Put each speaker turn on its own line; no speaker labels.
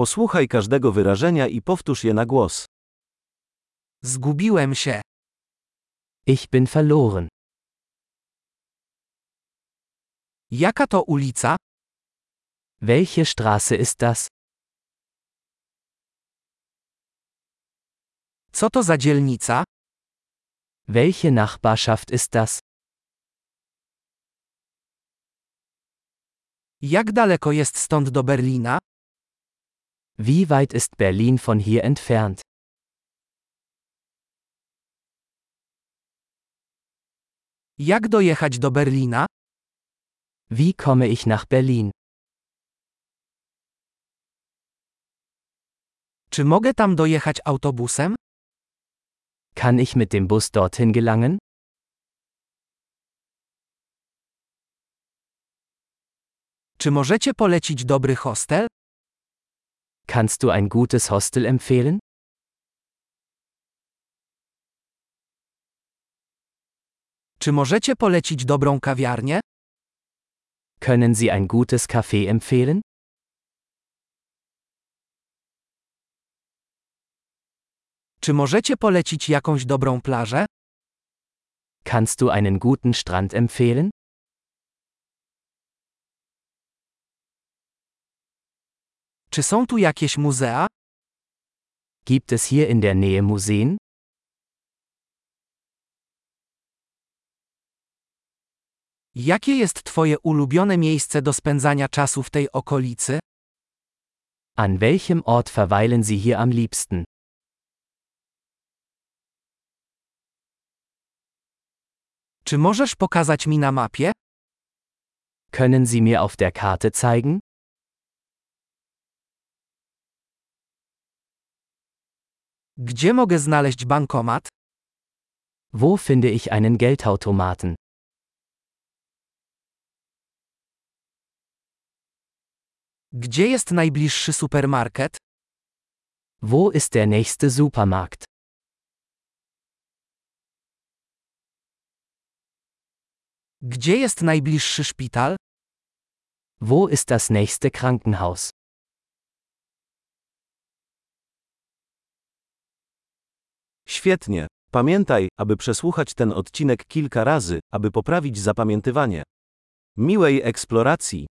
Posłuchaj każdego wyrażenia i powtórz je na głos.
Zgubiłem się.
Ich bin verloren.
Jaka to ulica?
Welche Straße ist das?
Co to za dzielnica?
Welche Nachbarschaft ist das?
Jak daleko jest stąd do Berlina?
Wie weit ist Berlin von hier entfernt?
Jak dojechać do Berlina?
Wie komme ich nach Berlin?
Czy mogę tam dojechać autobusem?
Kann ich mit dem Bus dorthin gelangen?
Czy możecie polecić dobry hostel?
Kannst du ein gutes Hostel empfehlen?
Czy możecie polecić dobrą kawiarnię?
Können Sie ein gutes Café empfehlen?
Czy możecie polecić jakąś dobrą plażę?
Kannst du einen guten Strand empfehlen?
Czy są tu jakieś muzea?
Gibt es hier in der Nähe Museen?
Jakie jest Twoje ulubione miejsce do spędzania czasu w tej okolicy?
An welchem Ort verweilen Sie hier am liebsten?
Czy możesz pokazać mi na mapie?
Können Sie mir auf der Karte zeigen?
Gdzie mogę znaleźć bankomat?
Wo finde ich einen Geldautomaten?
Gdzie jest najbliższy supermarket?
Wo ist der nächste Supermarkt?
Gdzie jest najbliższy szpital?
Wo ist das nächste Krankenhaus?
Świetnie. Pamiętaj, aby przesłuchać ten odcinek kilka razy, aby poprawić zapamiętywanie. Miłej eksploracji!